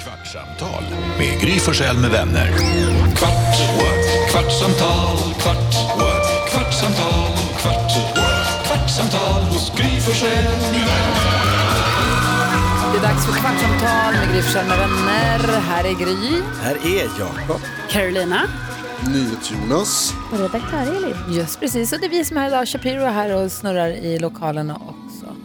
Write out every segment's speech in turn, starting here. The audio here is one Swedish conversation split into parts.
Kvartsamtal med Gry Forssell med vänner. Kvart, what? kvartsamtal, kvart, what? kvartsamtal, kvart, what? kvartsamtal hos Gry Forssell med vänner. Det är dags för Kvartsamtal med Gry Forssell med vänner. Här är Gry. Här är Jakob. Carolina. NyhetsJonas. Och redaktör Elin. Just precis, och det är vi som är här idag. Shapiro är här och snurrar i lokalerna också.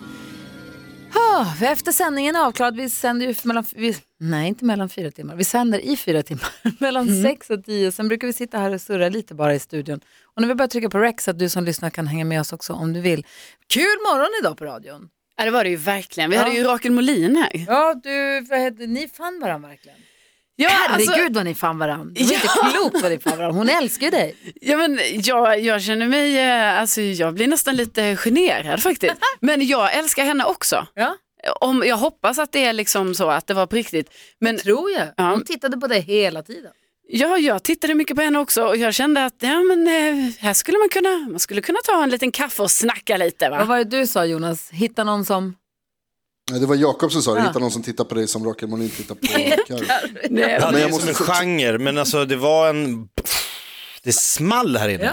Ah, för efter sändningen är avklarad, vi sänder ju mellan, vi, nej inte mellan fyra timmar, vi sänder i fyra timmar, mellan sex och tio. Sen brukar vi sitta här och surra lite bara i studion. Och nu vill jag bara trycka på rec så att du som lyssnar kan hänga med oss också om du vill. Kul morgon idag på radion. Ja det var det ju verkligen. Vi Ja. hade ju Rakel Molin här. Ja, du, vad heter, ni fann varandra verkligen. Ja, Herregud Alltså, vad ni fann varandra. Det var inte klokt vad ni fann varandra. Hon älskar ju dig. ja, men jag, jag känner mig, eh, alltså, jag blir nästan lite generad faktiskt. Men jag älskar henne också. Ja. Om, jag hoppas att det är liksom så att det var på riktigt. Men Tror jag. Ja. Hon tittade på dig hela tiden. ja, jag tittade mycket på henne också och jag kände att ja, men, eh, här skulle man, kunna, man skulle kunna ta en liten kaffe och snacka lite. Vad Va? var det du sa Jonas? Hitta någon som... Nej, Det var Jakob som sa det, hitta någon som tittar på dig som Rakel Molin tittar på Carro. Nej, Ja, Men det är jag som måste en få- genre, men alltså det var en... Det small här inne.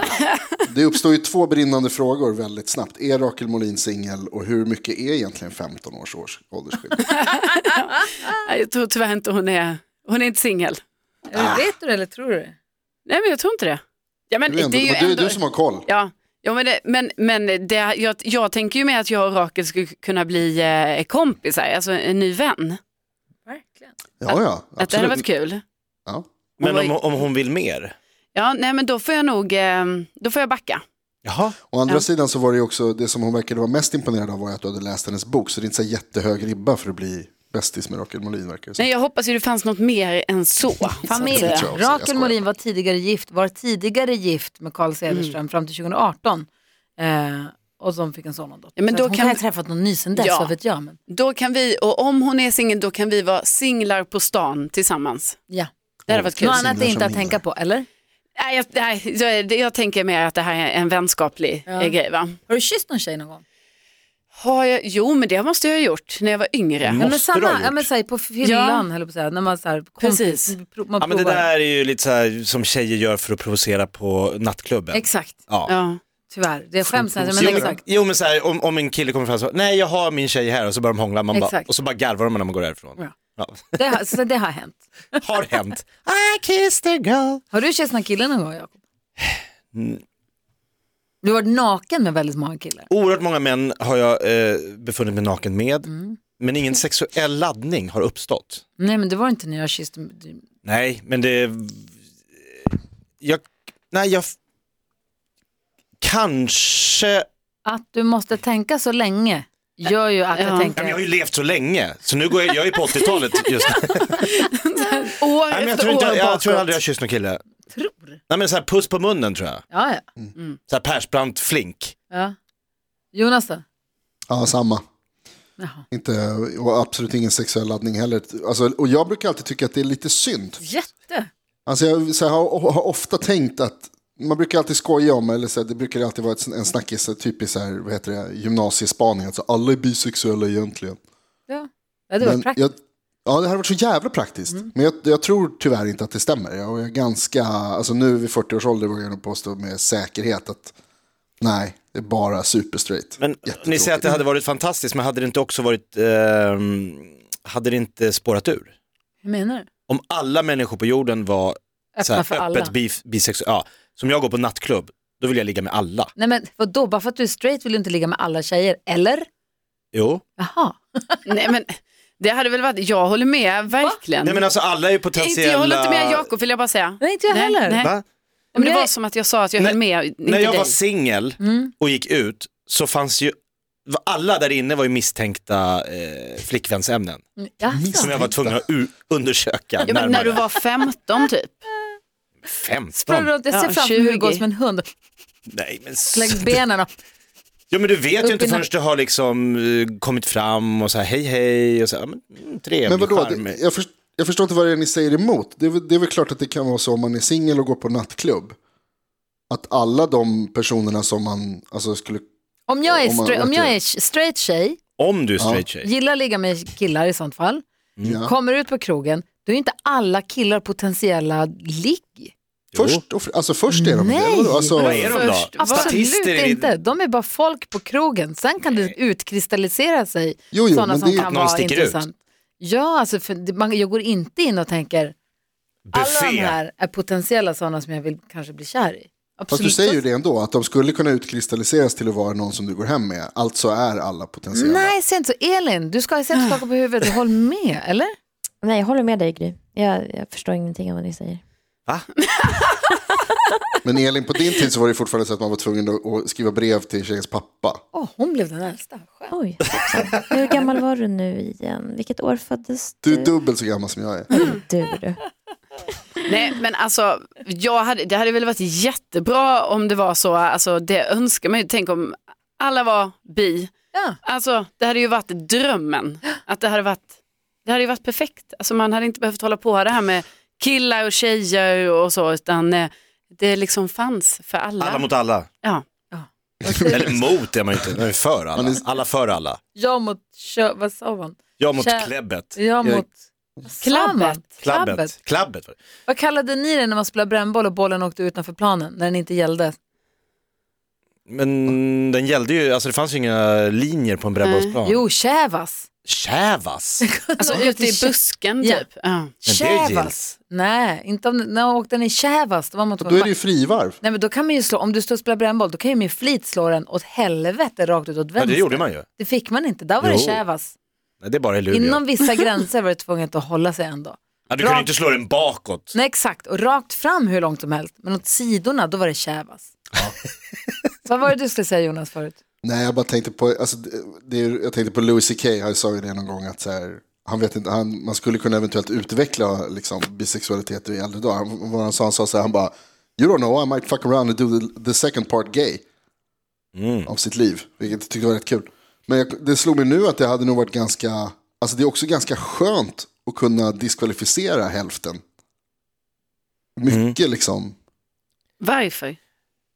Det uppstår ju två brinnande frågor väldigt snabbt. Är Rakel Molin singel och hur mycket är egentligen 15 års, års åldersskillnad? jag tror tyvärr inte hon är, hon är inte singel. Vet du det eller tror du det? Nej, men jag tror inte det. Ja, men Det är, ändå, det är ju det är ändå- du som har koll. Ja, ja men, det, men, men det, jag, jag tänker ju med att jag och Rakel skulle kunna bli eh, kompisar, alltså en ny vän. Verkligen. Ja, ja, Att det hade absolut. varit kul. Ja. Men Oj. om, om hon vill mer? Ja, nej men då får jag nog, eh, då får jag backa. Jaha. Å andra sidan så var det ju också, det som hon verkade vara mest imponerad av var ju att du hade läst hennes bok, så det är inte så jättehög ribba för att bli bästis med Rakel Molin verkar det som. Nej, jag hoppas ju det fanns något mer än så. Familj. Det tror jag också. Jag Rakel skojar. Molin var tidigare gift, var tidigare gift med Mm. Carl Cederström fram till 2018. Eh, och som fick en son och en dotter. Ja, men Så då att hon kan- kan ha träffat någon ny sen dess, Ja. vad vet jag. Men... Då kan vi, och om hon är singel, då kan vi vara singlar på stan tillsammans. Ja. Det hade varit kul. Något annat Singlar är som inte att hindrar. tänka på, eller? Nej, jag, nej, jag, det- jag tänker mer att det här är en vänskaplig Ja. eh, grej va? Har du kysst någon tjej någon gång? Har jag, jo, men det måste jag ha gjort när jag var yngre. Mm. Ja, men Måste du ha samma, gjort. ja, men, så här, på fyllan, höll jag på att säga. När man, så här, kompis, Precis. pro- man Ja, men det provar. där är ju lite så här som tjejer gör för att provocera på nattklubben. Exakt, ja. Ja. tyvärr. Det skäms nästan, Jo, men exakt. jo men så här, om, om en kille kommer fram och säger nej jag har min tjej här och så börjar de hångla man bara, Exakt. och så bara garvar de när man går därifrån. Ja. Det har, så det har hänt. Har hänt. I kissed a girl. Har du kysst någon kille någon gång Jakob? Mm. Du har varit naken med väldigt många killar. Oerhört många män har jag eh, befunnit mig naken med Mm. men ingen sexuell laddning har uppstått. Nej men det var inte när jag kysste. Nej, men det... Jag... Nej, jag... Kanske... Att du måste tänka så länge gör ju att jag Ja. Ja, men jag har tänker. ju levt så länge, så nu går jag, jag är på 80-talet just nu. År Nej, men jag efter tror, inte, år jag, jag tror bakåt. aldrig jag har kysst någon kille. Tror. Nej, men så här, puss på munnen tror jag. Ja, ja. Så här Persbrandt flink. ja. Jonas då? Ja, samma. Jaha. Inte, och absolut ingen sexuell laddning heller. Alltså, och jag brukar alltid tycka att det är lite synd. Jätte. Alltså jag så här, har, har ofta tänkt att man brukar alltid skoja om, eller så här, det brukar alltid vara ett, en snackis, så här, typiskt så här, vad heter det, gymnasiespaning, alltså alla är bisexuella egentligen. Ja. ja det var praktiskt. Mm. jag, ja, det hade varit så jävla praktiskt. Men jag, jag tror tyvärr inte att det stämmer. Jag är ganska, alltså nu vid 40 års ålder vågar jag nog påstå med säkerhet att nej, det är bara superstraight. Men ni säger att det hade varit fantastiskt, men hade det inte också varit... ehm, hade det inte spårat ur? Hur menar du? Om alla människor på jorden var så Öppna här, för alla. öppet bif- bisexuella, ja, som jag går på nattklubb, då vill jag ligga med alla. Nej men vadå, bara för att du är straight vill du inte ligga med alla tjejer, eller? Jo. Jaha. Nej, men det hade väl varit, jag håller med verkligen. Nej men alltså alla är ju inte, potentiella... jag håller inte med Jakob vill jag bara säga. Nej inte jag Nej, heller. nej. Va? Men det Nej. var som att jag sa att jag höll med, inte När jag dig. var singel Mm. och gick ut så fanns ju, var- alla där inne var ju misstänkta eh, flickvänsämnen Jaså. som jag var tvungen att u- undersöka ja, men när du närmare. var 15 typ. 15? Sprang runt, jag ser Ja, framför mig hur det 20. går som en hund. Nej men, s- Lägg benen upp. ja, men du vet Upp ju inte i förrän nack- du har liksom eh, kommit fram och så här hej hej och så här, ja, men, mm, Men trevlig vadå, charmig. det, jag, först, jag förstår inte vad det är ni säger emot. Det är, väl- det är väl klart att det kan vara så om man är singel och går på nattklubb. Att alla de personerna som man alltså, skulle... Om jag är, Om man- stra- om jag är straight tjej Om du är straight tjej. gillar att ligga med killar i sånt fall, Mm. Ja. kommer ut på krogen, Då är ju inte alla killar potentiella ligg. Först, och, fr- alltså först är de Nej. det. eller? Alltså, Vad är de Först- då? Absolut Statister är inte. De är bara folk på krogen. Sen kan det utkristallisera sig Jo, jo, sådana men som det är- kan Någon vara sticker ut. intressant. Ja, alltså, för det- man, jag går inte in och tänker alla de buffé. här är potentiella sådana som jag vill kanske bli kär i. Fast Absolut. du säger ju det ändå, att de skulle kunna utkristalliseras till att vara någon som du går hem med. Alltså är alla potentiella. Nej, säg inte så. Elin, du ska Ah. sätta skaka på huvudet och håll med, eller? Nej, jag håller med dig Gry. Jag, jag förstår ingenting av vad ni säger. Va? Men Elin, på din tid så var det fortfarande så att man var tvungen att- att skriva brev till tjejens pappa. Åh, hon blev den äldsta. Skönt. Oj, hoppsan. Hur gammal var du nu igen? Vilket år föddes Du du? är dubbelt så gammal som jag är. du, du. Nej men alltså, jag hade, det hade väl varit jättebra om det var så, alltså det önskar man ju, tänk om alla var bi. Ja. Alltså det hade ju varit drömmen, att det hade varit, det hade ju varit perfekt. Alltså man hade inte behövt hålla på det här med killar och tjejer och så, utan eh, det liksom fanns för alla. Alla mot alla. ja. Eller mot är man ju inte, man är för alla. Alla för alla. Jag mot, kö- vad sa man? Jag mot Tja. kläbbet. Jag Jag- mot... Vad sa man? Klabbet. Klabbet. Klabbet. var det. Vad kallade ni det när man spelade brännboll och bollen åkte utanför planen när den inte gällde? Men den gällde ju, alltså det fanns ju inga linjer på en brännbollsplan. Jo, kävas. Kävas. Alltså ute i busken Ja. typ. Ja. det Kävas? gills. Nej, inte om, när jag åkte den i Kävas. Då var man Då är det ju frivarv. Nej men då kan man ju slå, om du står och spelar brännboll, då kan ju min flit slå den åt helvete rakt ut åt Ja, vänster. det gjorde man ju. Det fick man inte, där var det Jo. Kävas. Nej, det är bara i Luleå. Inom vissa gränser var det tvunget att hålla sig ändå. Ja, du kunde inte slå den bakåt. Nej exakt, och rakt fram hur långt som helst, men åt sidorna då var det Kävas. Vad var det du skulle säga Jonas förut? Nej, jag bara tänkte på, alltså, det- det är, jag tänkte på Louis CK, han sa ju det någon gång att så här, han vet inte, han, man skulle kunna eventuellt utveckla liksom, bisexualitet i äldre dagar. Han, vad han sa, han sa så här, han bara, you don't know, I might fuck around and do the, the second part gay av sitt liv, vilket jag tyckte var rätt kul. Men jag, det slog mig nu att det hade nog varit ganska, alltså det är också ganska skönt att kunna diskvalificera hälften. Mycket liksom. Varför?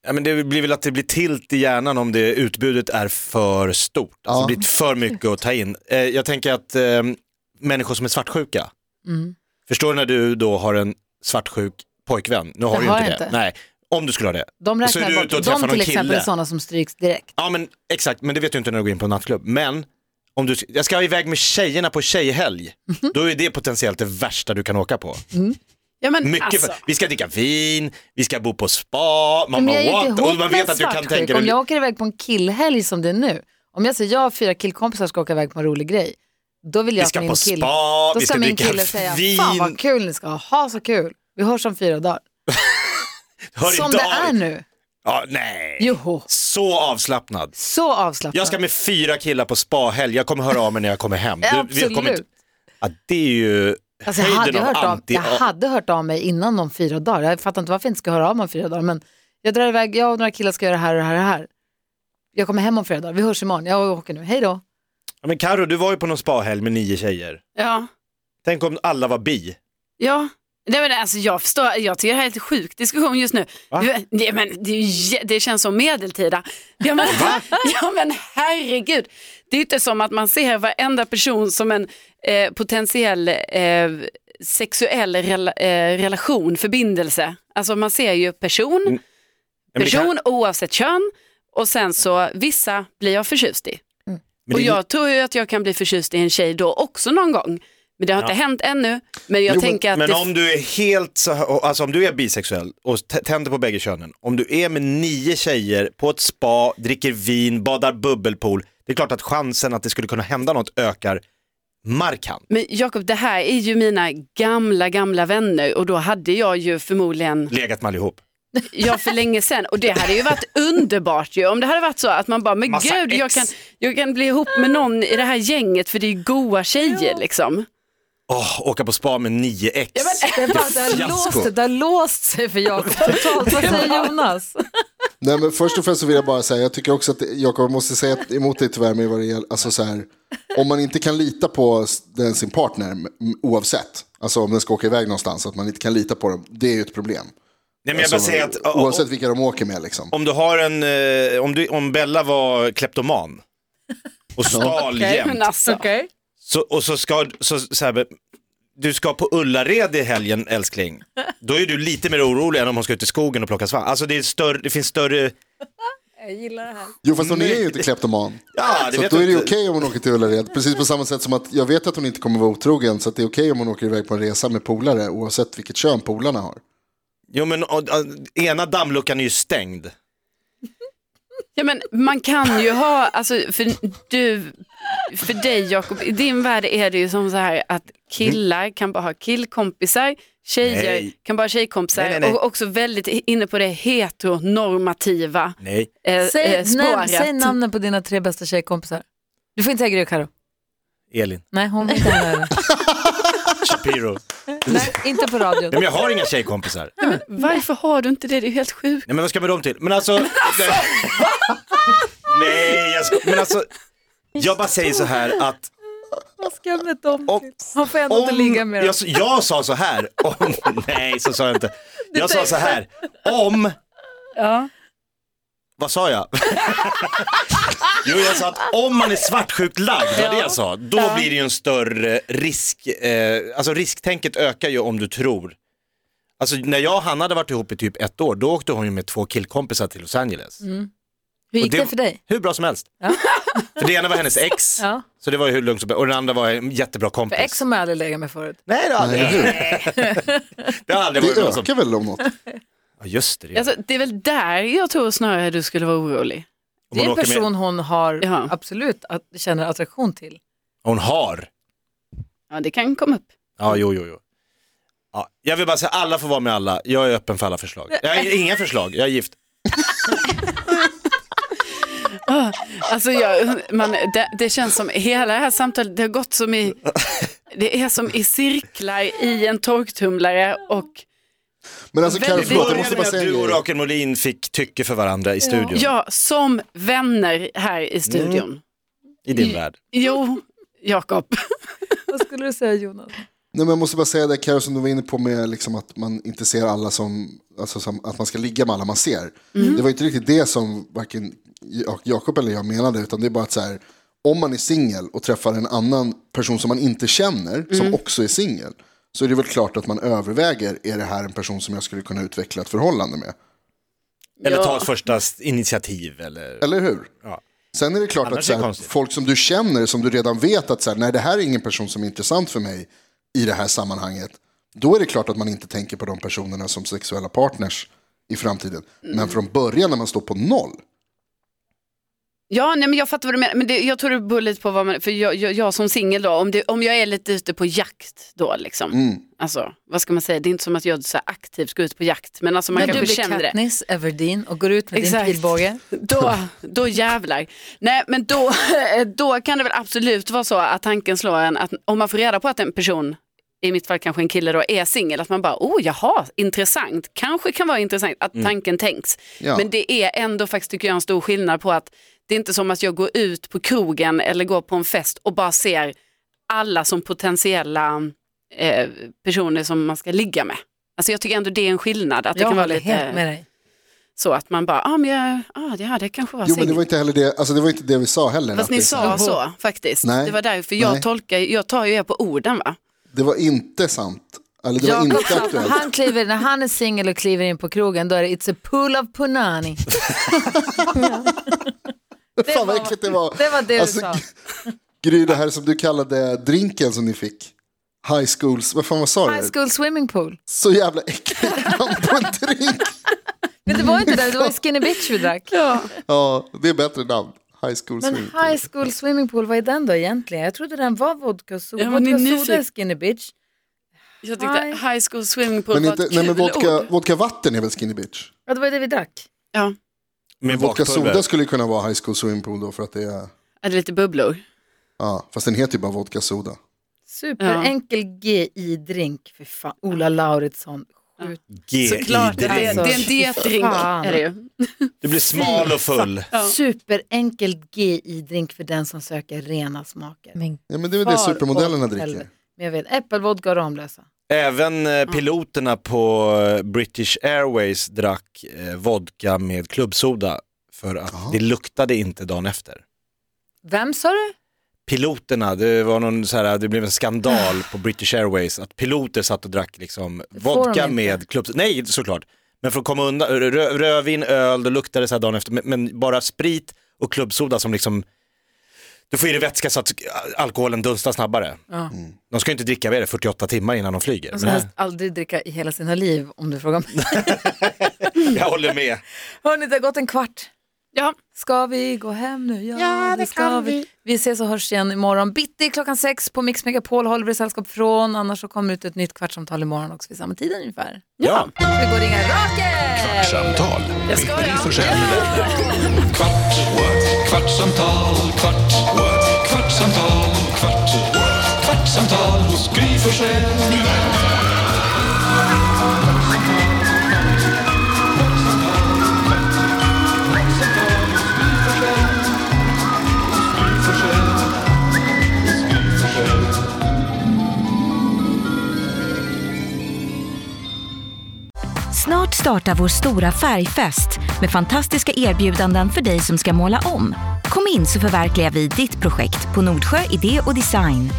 Ja, men det blir väl att det blir tilt i hjärnan om det utbudet är för stort. Alltså Ja. det blir för mycket att ta in. Eh, jag tänker att eh, människor som är svartsjuka, Mm. förstår du när du då har en svartsjuk pojkvän? Nu har Det du ju har inte jag det. inte. Nej, om du skulle ha det. De Och så är räknar du bort, ute och de träffar till någon exempel kille. är sådana som stryks direkt. Ja men exakt, men det vet du inte när du går in på en nattklubb. Men om du, jag ska iväg med tjejerna på tjejhelg, Mhm. då är det potentiellt det värsta du kan åka på. Ja, men, Mycket alltså, för, vi ska dricka vin, vi ska bo på spa, man Men bara jag är ju what? inte Och ihop man med en vet att du kan svartsjuk. tänka Om dig, jag åker iväg på en killhelg som det är nu, om jag säger jag och fyra killkompisar ska åka iväg på en rolig grej, då vill jag vi att ska min på kille, spa, då vi ska ska min dricka kille säga, fan vin. vad kul ni ska ha, ha så kul, vi hörs om fyra dagar. Hör som inte det av är dig. nu, Ja, nej. joho, Så avslappnad. så avslappnat. Jag ska med fyra killar på spahelg, jag kommer höra av mig när jag kommer hem. Du, Absolut. vi kommer inte- ja, det är ju Alltså, jag, höjden hade hört av, anti... jag hade hört av mig innan om fyra dagar. Jag fattar inte varför jag inte ska höra av mig om fyra dagar. Men jag drar iväg, jag och några killar ska göra det här och det här och det här. Jag kommer hem om fyra dagar, vi hörs imorgon, jag åker nu, hej då. ja, men Karo, du var ju på någon spahelg med nio tjejer. ja. Tänk om alla var bi. Ja. Nej, men alltså, jag förstår, jag tycker det här är en sjuk diskussion just nu. Du- Nej, men det, är ju jä- det känns som medeltida. Ja men, ja men herregud, det är ju inte som att man ser varenda person som en eh, potentiell eh, sexuell rela, eh, relation, förbindelse. Alltså man ser ju person, Ja, Mm, men det kan- person oavsett kön och sen så vissa blir jag förtjust i. men Och det- jag tror ju att jag kan bli förtjust i en tjej då också någon gång. Men det har inte hänt ännu. Men jag Jo, men- tänker att Men det om du är helt så här, alltså om du är bisexuell och t- tänder på bägge könen, om du är med nio tjejer på ett spa, dricker vin, badar bubbelpool, det är klart att chansen att det skulle kunna hända något ökar markant. Men Jakob, det här är ju mina gamla, gamla vänner och då hade jag ju förmodligen, Legat med allihop. ja för länge sedan, och det hade ju varit underbart ju om det hade varit så att man bara, men Massa gud, jag ex. kan, jag kan bli ihop med någon i det här gänget för det är ju goa tjejer liksom. Åh, åka på spa med nio ex. Det, är bara, det, har, låst, det har låst sig för Jakob totalt. Vad säger Jonas? Eh, Nej, men först och främst så vill jag bara säga, jag tycker också att Jakob jag måste säga emot dig tyvärr med vad det gäller, alltså så här, om man inte kan lita på s- den, sin partner m- oavsett, alltså om den ska åka iväg någonstans, att man inte kan lita på dem, det är ju ett problem. Nej, men jag bara Alltså, säger att o- o- oavsett vilka de åker med liksom. om du har en, eh, om, du, om Bella var kleptoman och stal Okej, jämt, men alltså, så, och så ska, så, så här, du ska på Ullared i helgen älskling, då är du lite mer orolig än om hon ska ut i skogen och plocka svamp. Alltså det, är större, det finns större, Jag gillar det här. Jo fast hon är Nej. ju inte kleptoman. ja det Så att vet då jag är det okej inte. om hon åker till Ullared. Precis på samma sätt som att jag vet att hon inte kommer vara otrogen. Så att det är okej om hon åker iväg på en resa med polare oavsett vilket kön polarna har. Jo men och, och, ena dammluckan är ju stängd. Ja, men man kan ju ha, alltså, för, du, för dig Jakob, i din värld är det ju som så här att killar kan bara ha killkompisar, tjejer Nej. kan bara ha tjejkompisar Nej, nej, nej. och också väldigt inne på det heteronormativa Nej. eh, eh, Säg, spåret. nej, säg namnen på dina tre bästa tjejkompisar. Du får inte säga Gry och Karo. Elin, Nej, hon vill inte ha det. Shapiro. Nej, inte på radion. Nej, men jag har inga tjejkompisar. Varför har du inte det? Det är ju helt sjukt. Nej men vad ska jag med dem till? Men alltså... Nej, jag ska... men alltså. Jag bara säger så här att Vad ska jag med dem Om- till? Hon får ändå inte om... ligga med dem. Jag, jag sa så här, om... nej så sa jag inte. Jag sa så här, om... Ja. Vad sa jag? jo jag sa att om man är svartsjukt lagd, det var det jag sa, då blir det ju en större risk, eh, alltså risktänket ökar ju om du tror. Alltså när jag och Hanna hade varit ihop i typ ett år, då åkte hon ju med två killkompisar till Los Angeles. Hur Och gick det för dig? Hur bra som helst. Mm. Ja. För det ena var hennes ex, Ja. så det var ju hur lugnt som helst. Och den andra var en jättebra kompis. För ex som jag aldrig legat med förut. Nej det har aldrig, Eller hur? det har aldrig varit Det någon som... ökar väl om något. Ja just det, det. Alltså, det är väl där jag tror snarare du skulle vara orolig. Om Det är en åker med- person hon har Ja. absolut att, känner attraktion till. Hon har. Ja, det kan komma upp. Ja jo jo jo. Ja, jag vill bara säga alla får vara med alla, jag är öppen för alla förslag. Jag har inga förslag, jag är gift. Alltså jag, man, det, det känns som hela det här samtalet, det har gått som i, det är som i cirklar i en torktumlare och Men alltså Carro, Väldigt- förlåt jag Började måste med bara att säga en du och grej. Rakel Molin fick tycke för varandra i studion, ja, som vänner här i studion. i din värld. Jo, Jakob. Vad skulle du säga Jonas? Nej, men jag måste bara säga det Carro som du var inne på med liksom att man inte ser alla som, alltså som, att man ska ligga med alla man ser. Det var ju inte riktigt det som varken Ja- Jakob eller jag menade, utan det är bara att så här, om man är singel och träffar en annan person som man inte känner, som också är singel, så är det väl klart att man överväger, är det här en person som jag skulle kunna utveckla ett förhållande med? Eller Ja. ta ett första s- initiativ eller... Eller hur? Ja. Sen är det klart Annars att så är det här, konstigt. folk som du känner, som du redan vet att så här, nej, det här är ingen person som är intressant för mig i det här sammanhanget. Då är det klart att man inte tänker på de personerna som sexuella partners i framtiden. Mm. Men från början när man står på noll. Ja, nej, men jag fattar vad du menar. Men det, jag tror det beror lite på vad man, för jag, jag, jag som singel då, om, det, om jag är lite ute på jakt då liksom. Alltså, vad ska man säga, det är inte som att jag så här aktivt ska ut på jakt, men alltså man När du kanske blir känner det. Katniss Everdeen och går ut med Exakt. din pilbåge. Då, då jävlar. Nej, men då, då kan det väl absolut vara så att tanken slår en att om man får reda på att en person, i mitt fall kanske en kille då, är singel, att man bara, oh jaha, intressant, kanske kan vara intressant att tanken tänks. Ja. Men det är ändå faktiskt, tycker jag, en stor skillnad på att det är inte som att jag går ut på krogen eller går på en fest och bara ser alla som potentiella eh, personer som man ska ligga med. Alltså jag tycker ändå det är en skillnad, att det Jag kan vara håller lite helt med dig. så att man bara, ah, men jag, ah, det, här, det kanske var Jo, men det singel." var inte heller det, alltså, det, var inte det vi sa heller. Fast att ni det, är så här- sa så faktiskt. Nej. Det var därför jag Nej. tolkar, jag tar ju er på orden va? det var inte sant. Eller det var Jakob inte sa att aktuellt. han kliver, när han är singel och kliver in på krogen då är det It's a pool of punani. Fan vad äckligt det var. Det var det Alltså, du sa. Gry, det här som du kallade drinken som ni fick. High schools, vad fan vad sa High du? school swimming pool. Så jävla äckligt namn på en drink. Men det var inte det, det var ju skinny bitch vi drack. Ja, det är bättre namn. High school Men swimming pool. high school swimming pool, vad är den då egentligen? Jag trodde den var vodka och soda. Ja, men ni vodka och soda nyfiken. är skinny bitch. Jag tyckte tyckte high school swimming pool Men, var inte, ett kul nej, men vodka, ord. vodka vatten är väl skinny bitch? Ja, det var ju det vi drack. Ja, Med Vodka bakpulver. soda skulle kunna vara high school swimming pool då för att det är... det är lite bubblor. Ja, fast den heter ju bara vodka soda. Superenkel GI-drink. Fy fan, Ola Lauritsson. Skjut G Såklart, det i är, drink. det är en dietdrink. Fan. Är det ju. Du blir smal och full. Ja. Superenkel GI-drink för den som söker rena smaker. Men Ja, men det är väl det Far supermodellerna åt dricker. helvete. Men jag vet, äppelvodka och Ramlösa. Även eh, piloterna på eh, British Airways drack eh, vodka med klubbsoda för att det luktade inte dagen efter. Vem sa du? piloterna, det var någon så här, det blev en skandal på British Airways att piloter satt och drack liksom får de vodka inte. med klubb, nej såklart, men för att komma undan, rö, rödvin, öl, då luktade det så här dagen efter, men, men bara sprit och klubbsoda som liksom, du får i dig vätska så att alkoholen dunstar snabbare. Mm. Ja. Alltså, De ska ju inte dricka, vad är det, 48 timmar innan de flyger. De ska Men, helst aldrig dricka i hela sina liv om du frågar mig. jag håller med. Hörni, det har gått en kvart. Ja, Ska vi gå hem nu? Ja, det ska vi. Vi ses och hörs igen imorgon bitti klockan sex på Mix Megapol håller vi sällskap från. Annars så kommer ut ett nytt kvartsamtal imorgon också vid samma tid ungefär. Ja. Vi går och ringer Rakel! Kvartsamtal med ska Gry jag. Forssell med vänner. Kvart, what? kvartsamtal, kvart, what? kvartsamtal, kvart, what? kvartsamtal hos Gry Forssell med vänner. Snart startar vår stora färgfest med fantastiska erbjudanden för dig som ska måla om. Kom in så förverkligar vi ditt projekt på Nordsjö Idé och Design.